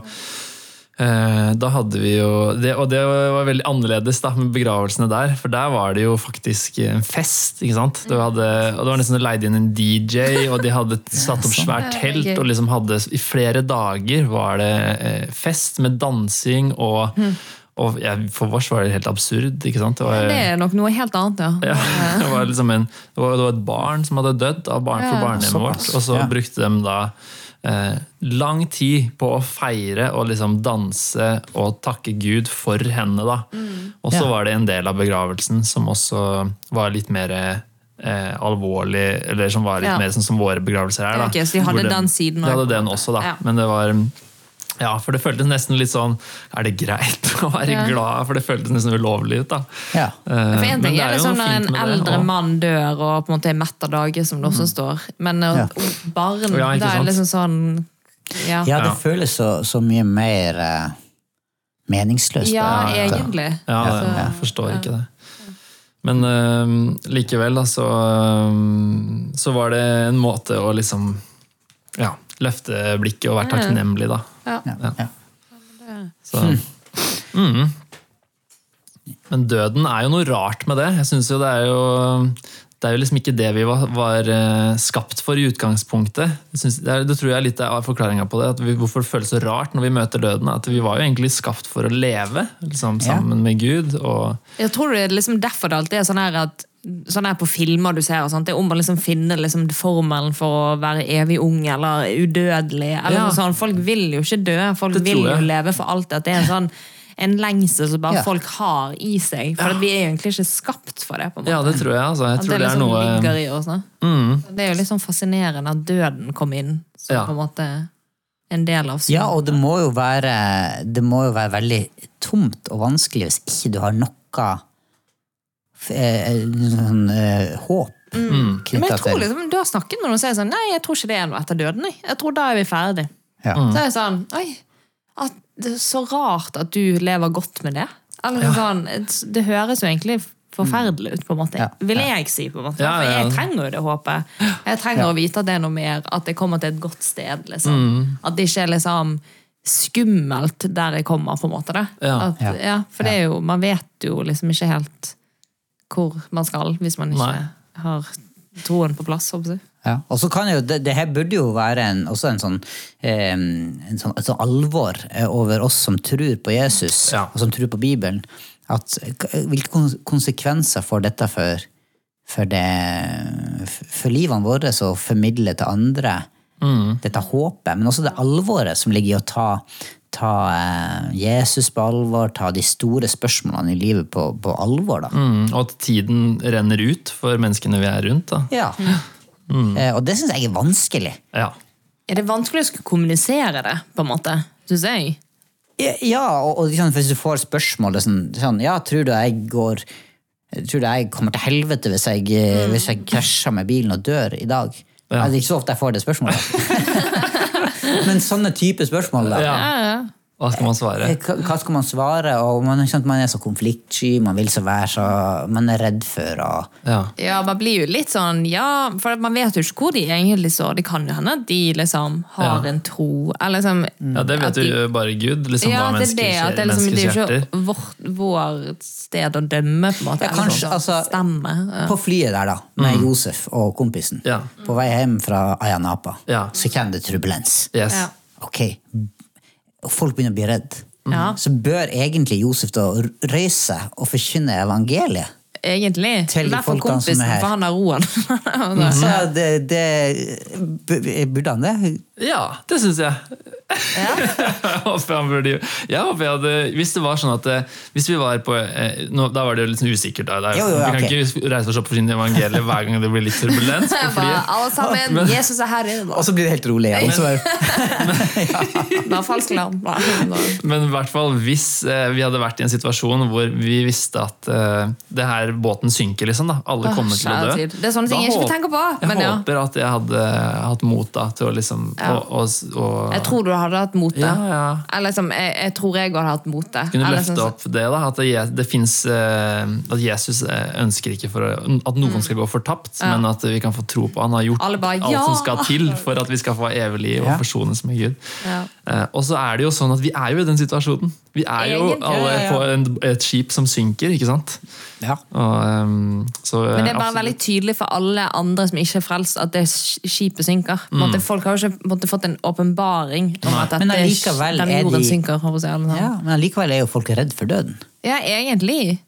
eh, da hadde vi jo det, Og det var veldig annerledes da, med begravelsene der, for der var det jo faktisk en fest. ikke sant? Du hadde, og Det var nesten leid inn en DJ, og de hadde satt
sånn.
opp svært telt. og liksom hadde, I flere dager var det eh, fest med dansing og og jeg, For vårs var det helt absurd. ikke sant? Det var,
Hmm. det er nok noe helt annet, ja.
ja, det, var liksom en, det, var, det var et barn som hadde dødd av barn
Ja,
fra barnehjemmet vårt.
såpass,
Og så
ja.
brukte de da eh, lang tid på å feire og liksom danse og takke Gud for henne. da.
Mm.
Og så
Ja.
var det en del av begravelsen som også var litt mer eh, alvorlig, eller som var litt
Ja.
mer sånn som våre begravelser er.
Ja,
da.
ok, så de hadde
Hvor
den siden
De
også,
hadde
på en
den
måte.
også, da.
Ja.
Men det var ja, for det føltes nesten litt sånn Er det greit å være
Ja.
glad? For det føltes nesten ulovlig ut, da.
Ja.
Eh,
For en
men
ting
det jo
er liksom
noe
når
fint med
en
det,
eldre
og- Mm.
mann dør og på en måte er mett av dage, som det også står. Men å-
Ja.
å, barn,
Ja, ikke
da er det liksom
sant?
sånn Ja,
Ja, det
Ja.
føles så, så mye mer eh, meningsløst.
ja
da.
egentlig.
Ja, det, jeg forstår ikke det. Men øhm, likevel, da, så, øhm, så var det en måte å liksom ja, løfte blikket og være takknemlig, da.
Ja.
Ja, ja.
Så.
Hmm.
Mhm. Men døden er jo noe rart med det. Jeg synes jo det er jo det er jo liksom ikke det vi var, var eh, skapt for i utgangspunktet. Jeg synes, det, er, det tror jeg litt er forklaringa på det. At vi, hvorfor det føles så rart når vi møter døden. At vi var jo egentlig skapt for å leve liksom,
Ja.
sammen med Gud. og
Jeg tror det er liksom derfor det alltid er sånn her at Sånn her på filmer du ser, og sånt, det er om å liksom finne liksom formelen for å være evig ung eller udødelig. Eller
Ja.
noe sånt. Folk vil jo ikke dø, folk
Det
vil
tror
jo
jeg.
leve for alltid. At det er en sånn en lengsel som bare
Ja.
folk har i seg. For at vi er egentlig ikke skapt for det. på en måte.
Ja, det tror jeg. Altså. Jeg
At
tror
det
det,
liksom
er noe Mm.
ligger i oss. da. Det er jo litt sånn fascinerende at døden kom inn som
Ja.
på en måte en del av
ja, og det må, jo være, det må jo være veldig tomt og vanskelig hvis ikke du har noe eh, sånn, eh, håp
Men jeg
knyttet
tror
til
liksom, Du har snakket med noen og sier sånn Nei, jeg tror ikke det er noe etter døden. Jeg, jeg tror da er vi ferdig.
ja.
Så er jeg sånn
Mm.
Oi, at, det er så rart at du lever godt med det. Eller sånn, det høres jo egentlig forferdelig ut, på en måte.
Ja.
Vil jeg si, på en måte.
Ja, ja, ja.
For jeg trenger jo det håpet. Jeg trenger å vite at det er noe mer, at jeg kommer til et godt sted. liksom.
Mm.
At det ikke er liksom skummelt der jeg kommer, på en måte. Da.
Ja.
At, ja, for det er jo, man vet jo liksom ikke helt hvor man skal, hvis man ikke
Nei.
har troen på plass. håper jeg.
Ja, og så kan jo, det, det her burde jo være en, også en sånn, eh, en sånn, et sånn alvor eh, over oss som tror på Jesus,
Ja.
og som tror på Bibelen. At, eh, hvilke kon- konsekvenser får dette for, for, det, for livene våre og formidle til andre
Mm.
dette håpet, men også det alvoret som ligger i å ta, ta eh, Jesus på alvor, ta de store spørsmålene i livet på, på alvor. Da.
Mm, og at tiden renner ut for menneskene vi er rundt. Da.
Ja.
Mm.
Eh, og det syns jeg er vanskelig.
Ja.
Er det vanskelig å skulle kommunisere det, på en måte? Synes jeg.
Ja, og, og liksom, hvis du får spørsmål det er sånn, sånn Ja, tror du jeg går Tror du jeg kommer til helvete hvis jeg, eh, hvis jeg krasjer med bilen og dør i dag? Altså,
Ja.
Det er ikke så ofte jeg får det spørsmålet. Men sånne type spørsmål, da.
ja.
Ja, ja.
Hva skal man svare?
Eh, Hva hva skal man svare? Og man, ikke sant, man er så konfliktsky, man vil så være så Man er redd for å
Ja.
Ja, man blir jo litt sånn Ja, for at man vet jo ikke hvor de egentlig står. Det kan jo hende at de liksom har
Ja.
en tro. Eller liksom,
Mm.
ja, det
at
vet
de-
jo bare Gud. Liksom, hva
Ja, det er det.
mennesker-
At det, er liksom, det er jo
menneskers hjerter.
ikke vårt, vår sted å dømme, på en måte.
Ja,
eller
kanskje,
sånn,
altså-
stemme. Ja.
På flyet der, da, med Josef og kompisen,
Mm. Ja.
på vei hjem fra Ayanapa,
Ja.
så kommer det turbulens.
Yes.
Ja.
ok, og folk begynner å bli redd, Mm.
Ja.
så bør egentlig Josef da r- røyse seg og forkynne evangeliet.
Egentlig.
Tell de
Derfor
folkene som er
kompisen,
her.
for han har roen. Altså,
Mhm.
Så det, det b- Burde han det?
ja, det syns jeg.
ja.
Jeg håper han burde jo Jeg håper jeg hadde Hvis det var sånn at eh, Hvis vi var på eh, nå, Da var det jo litt sånn usikkert. Da. Det er,
Jo, jo,
vi kan
ok.
ikke reise oss opp for sin evangelie hver gang det blir litt turbulens på
Bare,
flyet.
alle sammen,
Men-
Jesus er herre.
Og så blir det helt rolig igjen. så er-
Bare falsk alarm. Bare- bare-
Men i hvert fall hvis eh, vi hadde vært i en situasjon hvor vi visste at eh, det her båten synker, liksom. da Alle kommer til å
Kjære
dø.
tid. Det er sånne ting
Da
jeg ikke
håp-
tenker på,
Jeg
men ja.
håper at jeg hadde hatt mot da til å liksom
Ja.
å, å, å,
Jeg tror du hadde hatt motet.
Ja, ja.
Eller liksom, jeg, jeg tror jeg hadde hatt motet.
kunne
Eller
løfte
sånn-
opp det. da, At, det, Je- det finnes, eh, at Jesus eh, ønsker ikke for, å- at noen skal gå fortapt, men at vi kan få tro på han har gjort
Mm. Alle bare,
alt
«Ja!»
som skal til for at vi skal få evig liv og
Ja.
forsones med Gud.
Ja.
Eh, og så er det jo sånn at vi er jo i den situasjonen. Vi er jo
Egentlig,
alle
ja, ja.
på en, et skip som synker, ikke sant?
Ja.
Og, eh, så, eh,
Men det er bare
absolutt.
veldig tydelig for alle andre som ikke er frelst, at det sk- skipet synker. På en måte, Folk har jo ikke på en måte, fått en åpenbaring om at, at
Mm. Men
det-
allikevel
den
er
jorden
de-
synker. holdt jeg på å si, eller noe
ja,
sånt.
Men allikevel er jo folk redd for døden.
Ja, egentlig.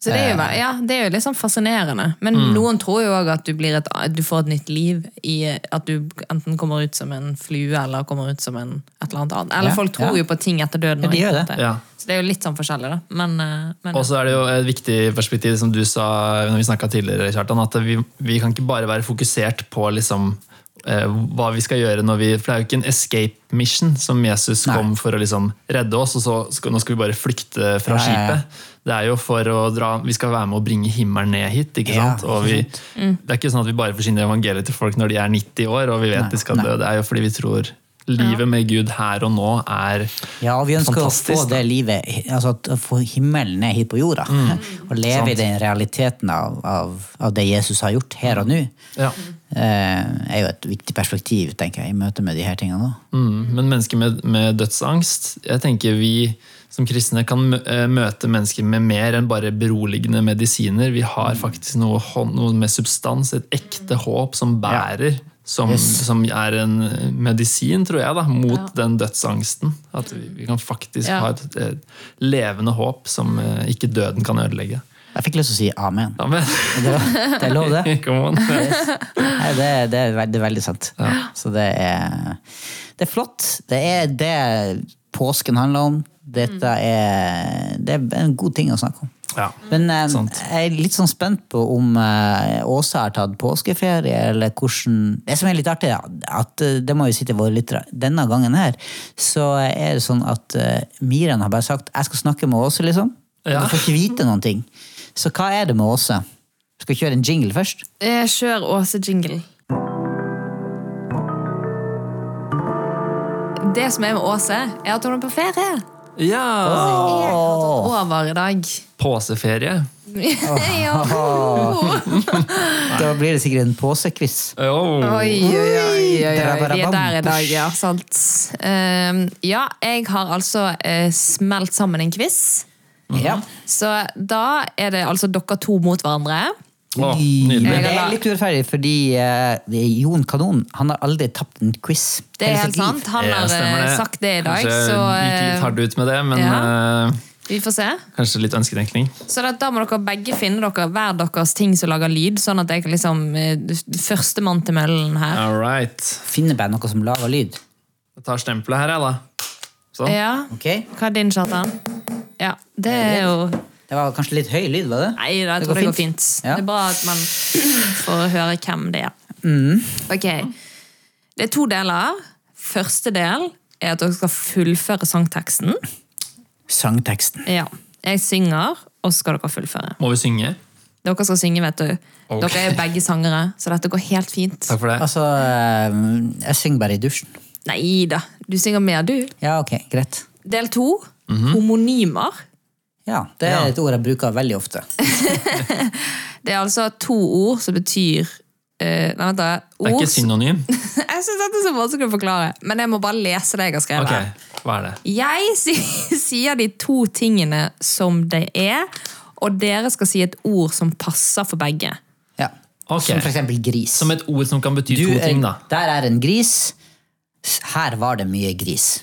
Så det er, jo,
Eh.
ve- ja, det er jo litt sånn fascinerende. Men
Mm.
noen tror jo òg at du, blir et, at du får et nytt liv i at du enten kommer ut som en flue eller kommer ut som en, et eller annet annet. Eller
Ja,
folk tror
ja.
jo på ting etter døden.
Ja, de
også,
gjør det.
på en måte.
Ja.
Så det er jo litt sånn forskjellig, da. Men, eh, men
Og så er det jo et viktig perspektiv, som du sa når vi snakket tidligere, Kjartan, at vi, vi kan ikke bare være fokusert på liksom, eh, hva vi skal gjøre når vi For det er jo ikke en escape mission som Jesus
Nei.
kom for å liksom redde oss, og så skal, nå skal vi bare flykte fra
Ja, ja, ja.
skipet. Det er jo for å dra Vi skal være med å bringe himmelen ned hit, ikke
Ja,
sant? Og vi, det er ikke sånn at vi bare forsyner evangeliet til folk når de er 90 år og vi vet
Nei,
de skal
nei.
dø. Det er jo fordi vi tror livet med Gud her og nå er
Ja, og vi ønsker å
Fantastisk,
få det livet, altså at- å få himmelen ned hit på jorda. Og leve i den realiteten av, av, av det Jesus har gjort her og nå.
ja.
Eh, er jo et viktig perspektiv, tenker jeg, i møte med de her tingene. Også.
Mm, men mennesker med, med dødsangst Jeg tenker vi som kristne kan mø- eh, møte mennesker med mer enn bare beroligende medisiner. Vi har faktisk noe, hånd- noe med substans, et ekte håp som bærer. Som, som er en medisin, tror jeg, da, mot den dødsangsten. At vi, vi kan faktisk
Ja.
ha et, et levende håp som eh, ikke døden kan ødelegge.
Jeg fikk lyst til å si amen.
Ja, men,
Det, var, det er lov, det.
come on.
Nei, det, det, er veldig, det er veldig sant. Så det er, det er flott. Det er det påsken handler om. Dette
Mm.
er, det er en god ting å snakke om.
Ja.
Men eh,
Sant.
jeg er litt sånn spent på om eh, Åsa har tatt påskeferie, eller hvordan Det som er litt artig, er at eh, det må jo si til våre lyttere, denne gangen her, så er det sånn at eh, Miriam har bare sagt 'jeg skal snakke med Åse', liksom.
Ja.
Du får ikke vite noen ting. Så hva er det med Åse? Skal vi kjøre en jingle først?
Eh, Kjør Åse Jingle. Det som er med Åse, er at hun er på ferie.
Ja!
Jeg har tatt over i dag.
Påseferie.
ja.
Da blir det sikkert en påsequiz.
Oh.
Oi, oi, oi, oi, oi. Vi er der i dag,
Drabarabam.
ja. Sant. Ehm, ja, jeg har altså eh, smelt sammen en quiz.
Mhm.
Ja.
Så da er det altså dere to mot hverandre.
Å,
Men
nydelig.
det er litt urettferdig, fordi eh, det er Jon Kanon han har aldri tapt en quiz.
Det er
hele
helt
sitt liv.
sant. Han
Ja,
har
stemmer
eh, sagt det i dag,
Kanskje
så
gikk litt
eh,
hardt ut med det, men
ja.
eh,
vi får se.
kanskje litt ønsketenkning.
Så da, da må dere begge finne dere hver deres ting som lager lyd, sånn at jeg kan liksom eh, Førstemann til møllen her.
All right.
Finner bare noe som lager lyd.
Jeg tar stempelet her, jeg, da. Sånn.
Ja.
Ok?
Hva er din, Kjartan? Ja, det er jo
Det var kanskje litt høy lyd, var det?
Nei, da, jeg
Det
tror
går
det går
fint.
fint.
Ja.
Det er bra at man får høre hvem det er. Ok. Det er to deler. Første del er at dere skal fullføre sangteksten.
Sangteksten.
Ja. Jeg synger, og så skal dere fullføre.
Må vi synge?
Dere skal synge, vet du.
Ok.
Dere er jo begge sangere, så dette går helt fint.
Takk for det.
Altså, eh, jeg synger bare i dusjen.
Nei da, du synger mer, du.
Ja, ok, greit.
Del to.
Mhm.
Homonymer.
Ja, Det er et ord jeg bruker veldig ofte.
Det er altså to ord som betyr eh, Nei, vent, da.
Det er
Ord
ikke
som-
synonym.
Jeg syns dette er så vanskelig å forklare, men jeg må bare lese det jeg har skrevet.
Ok, hva er det?
Jeg si- sier de to tingene som det er, og dere skal si et ord som passer for begge.
Ja.
Ok.
Som for eksempel gris.
Som et ord som kan bety
Du
to
er-
ting, da.
Der er en gris. Her var det mye gris.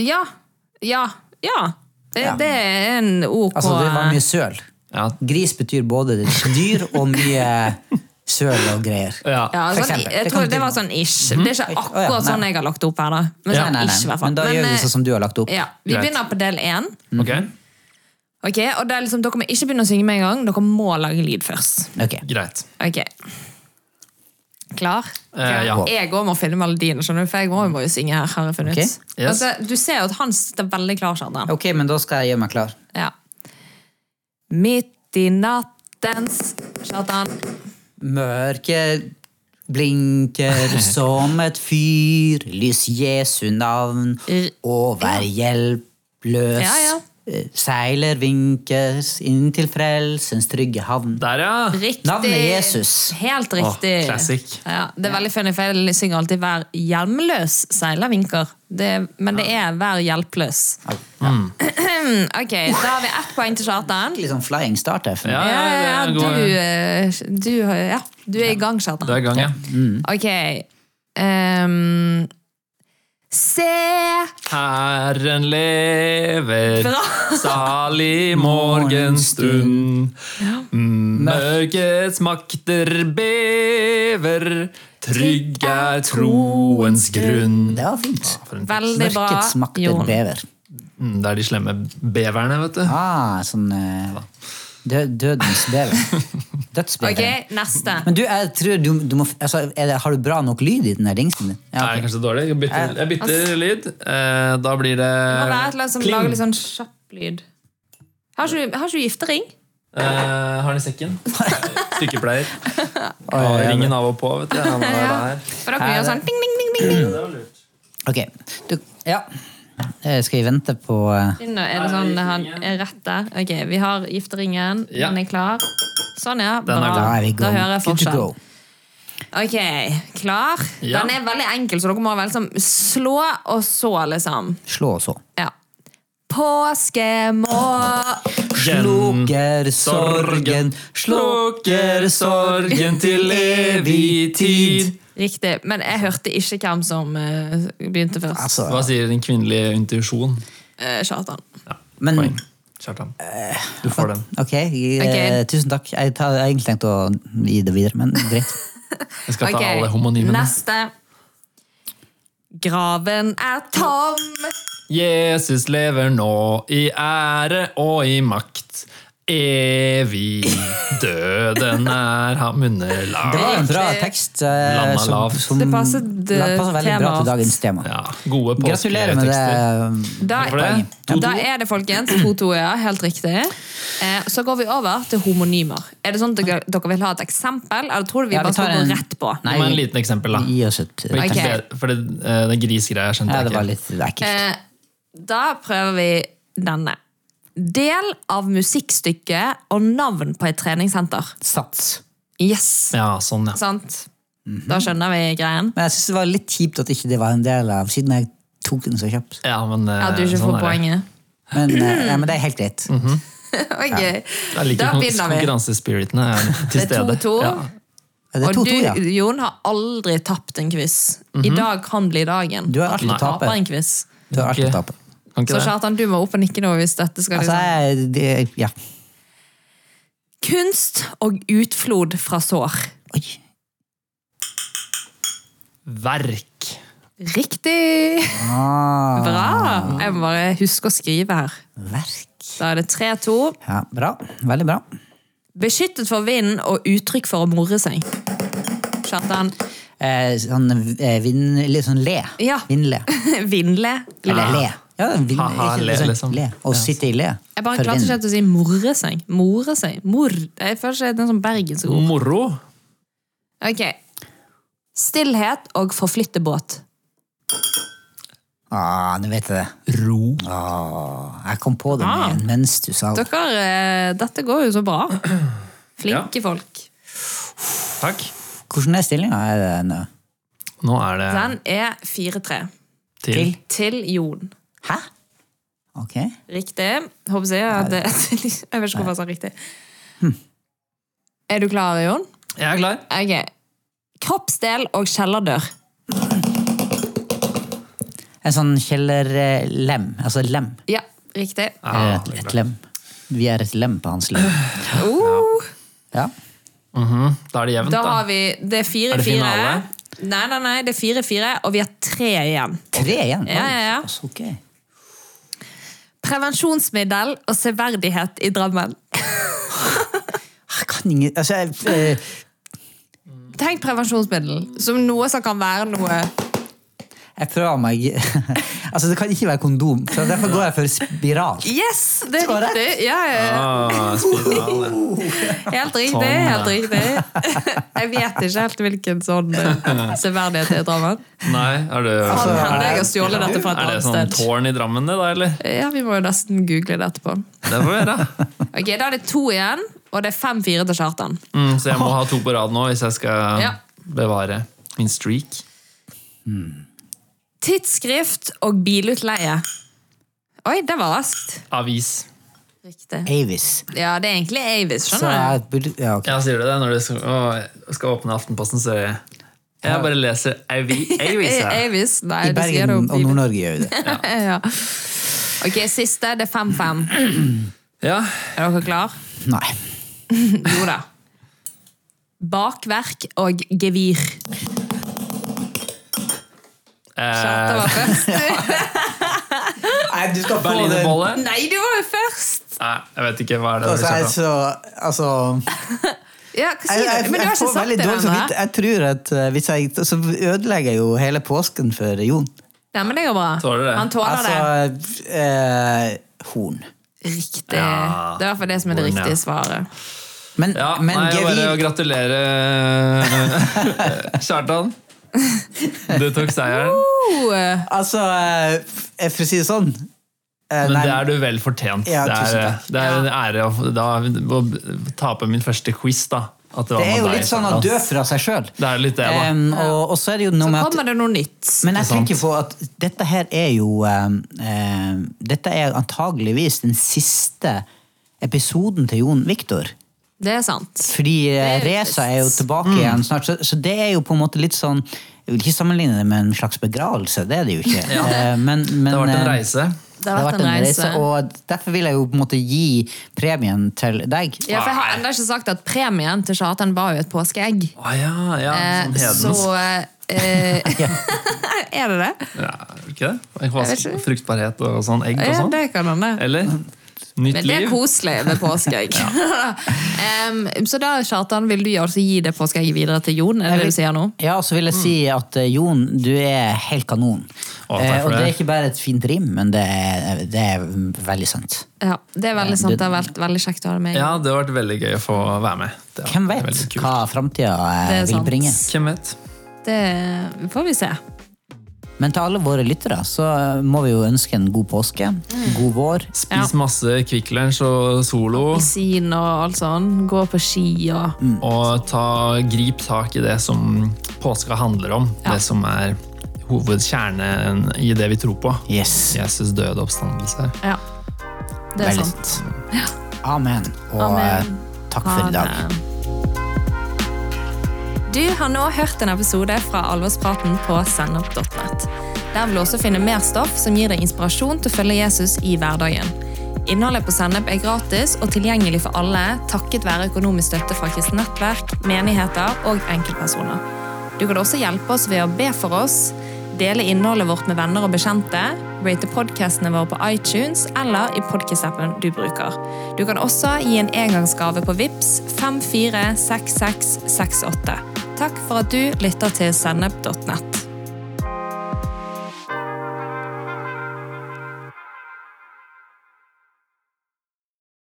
Ja. Ja. Ja. Det,
Ja.
det er en OK
Altså, det var mye søl.
Ja.
Gris betyr både dyr og mye søl og greier.
Ja.
ja,
for
sånn,
eksempel.
jeg
Det
tror
kan
det
du- Mhm.
var sånn ish. Det er ikke
Å ja,
akkurat
nei.
sånn jeg har lagt det opp her, da. Men sånn
Nei, nei,
ish, i
nei.
hvert fall.
Men da gjør vi sånn som du har lagt opp.
eh, ja, Vi
Greit.
begynner på del én.
Ok.
Ok, og det er liksom, dere må ikke begynne å synge med en gang. Dere må lage lyd først.
Ok.
Greit.
Ok. Klar?
Eh, ja.
Jeg òg må finne melodien, skjønner du, for jeg må, må jo synge her. har jeg funnet
Ok.
ut.
Yes.
Altså, du ser jo at han sitter veldig klar, Kjartan.
Ok, men da skal jeg gjøre meg klar.
Ja. Midt i nattens Kjartan.
Mørket blinker som et fyr, lys Jesu navn, og vær hjelpløs.
Ja, ja.
Eh, Seiler vinkes inn til frelsens trygge havn.
Der, ja.
Riktig.
Navnet Jesus.
Helt riktig.
Åh, classic.
ja, det er veldig funny, for jeg synger alltid 'Vær hjelmløs seilervinker'. Det, men det er 'Vær hjelpløs'. Ok, Da har vi ett poeng til Kjartan.
Litt sånn flying start her. for meg.
Ja,
Ja, ja, ja,
det er god-
du, eh, du, har- ja, du er i gang, Kjartan.
Det er i gang, ja.
Ok. ehm, se
Herren lever,
Bra.
salig morgenstund. Mm, Mørkets makter bever, trygg er troens grunn.
Det var fint.
For en-
Veldig bra,
Mørkets makter
Jon.
bever.
Mm, Det er de slemme beverne, vet du.
Ah, sånn eh, dø dødens bever. Dødsbever.
Ok, neste.
Men du, jeg tror du, du må, altså, er det, Har du bra nok lyd i den der dingsen din? Ja,
Nei,
ok.
kanskje dårlig. Jeg bytter, jeg bytter lyd. Eh, Da blir det
Må være et eller annet
Eh,
som lager litt sånn kjapp lyd. Har ikke du, har ikke du giftering?
Eh, har den i sekken. Sykepleier. Har ringen av og på, vet du. Han var der.
For da kan vi gjøre sånn ding, ding, ding, ding, ding.
Ok, du, ja. Eh, Skal vi vente på eh,
Nå Er det sånn han er rett der? Ok, vi har gifteringen.
Ja.
Den er klar. Sånn, ja.
Den er
Da
Bra.
er vi
Da
go.
hører jeg
Good to
forskjell.
go.
Ok, klar.
Ja.
Den er veldig enkel, så dere må vel liksom slå, og så liksom.
Slå og så.
Ja. Påskemorgen
Slukker sorgen, slukker sorgen til evig tid.
Riktig. Men jeg hørte ikke hvem som eh, begynte først.
Altså,
Hva sier den kvinnelige intuisjon?
Eh, Kjartan.
men
Poeng. Kjartan. Du får den.
ok, eh,
Ok.
tusen takk. Jeg tar- jeg har egentlig tenkt å gi det videre, men greit.
Jeg skal ta
Ok,
alle homonymene.
Neste. Graven er tom.
Jesus lever nå i ære og i makt. Evig døden er ham
Det
underlag.
var en bra tekst. eh,
Landa lavt.
Det passet, eh,
det passet veldig bra til
temaet.
dagens tema.
Ja, gode
Gratulerer med
påsketekster.
det.
Da,
Hvorfor det?
Ja, da er det, folkens. 2-2, ja. Helt riktig. Eh, så går vi over til homonymer. Er det sånn at dere, dere vil ha et eksempel, eller tror du vi
Ja, vi
bare skal
tar en-
gå rett på?
Gi meg en liten eksempel, da.
Gi oss et
For, ikke
Ok.
be- for det, eh, det grisgreia skjønte
Ja,
jeg
det var
ikke.
litt ekkelt.
Eh, da prøver vi denne. Del av musikkstykket og navn på et treningssenter.
Sats.
Yes!
Ja, sånn, ja.
Sant? Da skjønner vi greien.
Men jeg synes det var litt kjipt at ikke det var en del av, siden jeg tok den så kjapt.
ja men, eh,
Ja, du ikke
sånn
får
er det.
poenget.
Men,
Mm-hmm.
eh, ja, men det er helt greit.
Mm-hmm.
Ok,
Jeg liker
Da
kon-
begynner vi.
konkurransespiritene er til
Det er
stede.
2-2.
Ja.
Det er
Og
2-2, ja.
du, Jon, har aldri tapt en quiz. I dag kan bli dagen.
Du har alltid
At du taper
taper.
en quiz.
Du har alltid
Ok.
tapet.
Kan ikke
Så
det?
Kjartan, du må opp og nikke nå hvis dette skal
Altså, jeg,
liksom.
det, ja.
Kunst og utflod fra sår.
Oi.
Verk.
Riktig!
Ah,
Bra! Jeg må bare huske å skrive her.
verk.
Da er det 3-2.
Ja, bra. Veldig bra.
Beskyttet for vinden og uttrykk for å more seg. Kjartan.
Eh, sånn eh, vin, litt sånn le.
Ja.
Vindle.
Vindle.
Eller le. Ja, vin,
Ha-ha,
litt
le,
sånn
liksom.
le. Å sitte i le.
Jeg bare
For
klarte ikke
vind.
helt å si more seg. More seg. Mor. Jeg føler ikke det er en sånn bergensk ord.
Moro.
Ok. Stillhet og forflytte båt.
Ah, nå vet jeg det.
Ro.
Ah, jeg kom på det
Ah.
med, mens du sa det.
Dere, eh, dette går jo så bra. Flinke folk.
Takk.
Hvordan er stillinga? Er det eh, nå?
Nå er det
Den er 4-3
til.
til Jon.
Hæ? Ok.
Riktig. Håper jeg at det Jeg vet ikke hvorfor jeg sa riktig. Er du klar, Jon?
Jeg er klar.
Ok. Kroppsdel og kjellerdør.
En sånn kjellerlem. Altså lem. Eh,
Ja, riktig.
Ja,
et,
det er
et
klart.
Ah, lem. Vi er et lem på hans lem.
Uh,
Ja.
Mhm. Da er det jevnt,
da
da.
har vi Det
Er
er
det
4-4.
finale?
Nei, nei, nei, det er 4-4, og vi har tre igjen.
Tre igjen?
Ja, ja, ja.
Oi, såpass, ok.
Prevensjonsmiddel og severdighet i Drammen.
Jeg kan ingen altså, jeg, eh,
Tenk prevensjonsmiddel som noe som kan være noe
jeg prøver meg Altså, det kan ikke være kondom, så derfor går jeg for spiral.
Yes! Det er
Så rett.
riktig. Ja, ja, ja.
Ah, spiral, ja.
Helt riktig.
Sånn, ja.
helt riktig. Jeg vet ikke helt hvilken sånn eh, severdighet det er i Drammen.
Nei, er det Altså,
Kan hende jeg har
er
stjålet dette fra et
det
annet
sånn
sted.
tårn i Drammen, det, da, eller?
Ja, Vi må jo nesten google det etterpå.
Det får vi gjøre.
Ok, Da er det to igjen, og det er fem-fire til Kjartan.
Mm, så jeg må ha to på rad nå hvis jeg skal
Ja.
bevare min streak.
Tidsskrift og bilutleie. Oi, det var raskt.
Avis.
Riktig.
Avis.
Ja, det er egentlig Avis,
Så
skjønner du.
jeg burde ja, ok.
Ja, sier du det? Når du skal, å, jeg skal åpne Aftenposten, så er jeg Jeg bare leser avi- avis her.
Avis, nei,
I
du sier
Bergen
det jo
og
bil-
Nord-Norge gjør jo det.
ja. Ok, siste. Det er fem-fem.
Ja.
Er dere klar?
Nei.
Jo da. Bakverk og gevir. Kjartan
Eh,
var først.
Nei, du skal få den.
Berlinerbolle?
Nei, du var jo først!
Nei, jeg vet ikke hva er det
Altså,
dere
jeg,
snakker om.
så, altså,
Ja, hva
jeg,
sier
jeg,
du? Men du
jeg
har
får
ikke sagt
veldig
det
dårlig samvittighet.
ennå.
Jeg tror at eh, hvis jeg Så ødelegger jeg jo hele påsken for Jon.
Nei, men det går bra.
Tåler det.
Han tåler
Altså eh, Horn.
det. Riktig.
Ja.
Det er i hvert fall det som er det
Horn, ja.
riktige svaret.
Men,
Ja,
men
nei, jeg bare
gevir-
å gratulere eh, Kjartan. Du tok seieren.
Uh,
Altså, eh, f- eh, for å si det sånn eh,
Men
nei,
det er du vel fortjent.
Ja,
det,
tusen
er, eh,
takk.
det er en ære å, få- da, å tape min første quiz, da. At det, var
det er
med
jo
deg,
litt sånn å
Kjartan.
dø fra seg sjøl.
Det er litt det, da.
og, og så er det jo noe med at
kommer det noe nytt?
Men jeg
Ikke sant?
tenker på at dette her er jo em, em, Dette er antageligvis den siste episoden til Jon Viktor.
Det er sant.
Fordi eh,
Det er jo Mm.
Reza er jo tilbake igjen snart, så, så det er jo på en måte litt sånn Jeg vil ikke sammenligne det med en slags begravelse, det er det jo ikke. Eh, Men, men,
det har vært en
eh,
reise.
Det har vært en reise.
og derfor vil jeg jo på en måte gi premien til deg.
Ja, for jeg har ennå ikke sagt at premien til Kjartan var jo et påskeegg.
Å ja, ja. Sånn
Eh, Så
hedens.
eh, Er det det?
Ja, er det ikke det?
Jeg vet ikke.
Fruktbarhet og sånn. Egg og
Ja,
sånn.
det kan han det.
Eller? Nytt
Men det er
liv.
koselig med påskeegg. Em, så da, Kjartan, vil du altså gi det påskeegget videre til Jon? Er det det du sier nå?
Ja, så vil jeg si
Mm.
at eh, Jon, du er helt kanon.
Å, takk
Eh,
for
og det er
det.
ikke bare et fint rim, men det er, det er veldig sant.
Ja, det er veldig sant. Det har vært veldig kjekt å ha deg med.
Ja, det har vært veldig gøy å få være med. Det har
Hvem
vært
vet
veldig kult.
hva framtida eh,
Det er
vil
sant.
bringe?
Hvem vet?
Det får vi se.
Men til alle våre lyttere så må vi jo ønske en god påske,
Mm.
god vår.
Spis masse Kvikk Lunsj og Solo,
Appelsin og alt sånn. Gå på ski og
Mm. og ta, grip tak i det som påska handler om.
Ja.
Det som er hovedkjernen i det vi tror på.
Yes.
Jesus døde og oppstandelse.
Ja. Det er
Veldig
sant.
Amen. Og
Amen.
eh, takk for i dag.
Du har nå hørt en episode fra Alvorspraten på sennep.net. Der vil du også finne mer stoff som gir deg inspirasjon til å følge Jesus i hverdagen. Innholdet på Sennep er gratis og tilgjengelig for alle takket være økonomisk støtte fra kristent nettverk, menigheter og enkeltpersoner. Du kan også hjelpe oss ved å be for oss, dele innholdet vårt med venner og bekjente, rate podcastene våre på iTunes eller i podcast-appen du bruker. Du kan også gi en engangsgave på VIPS 546668. Takk for at du lytter til sennep.net.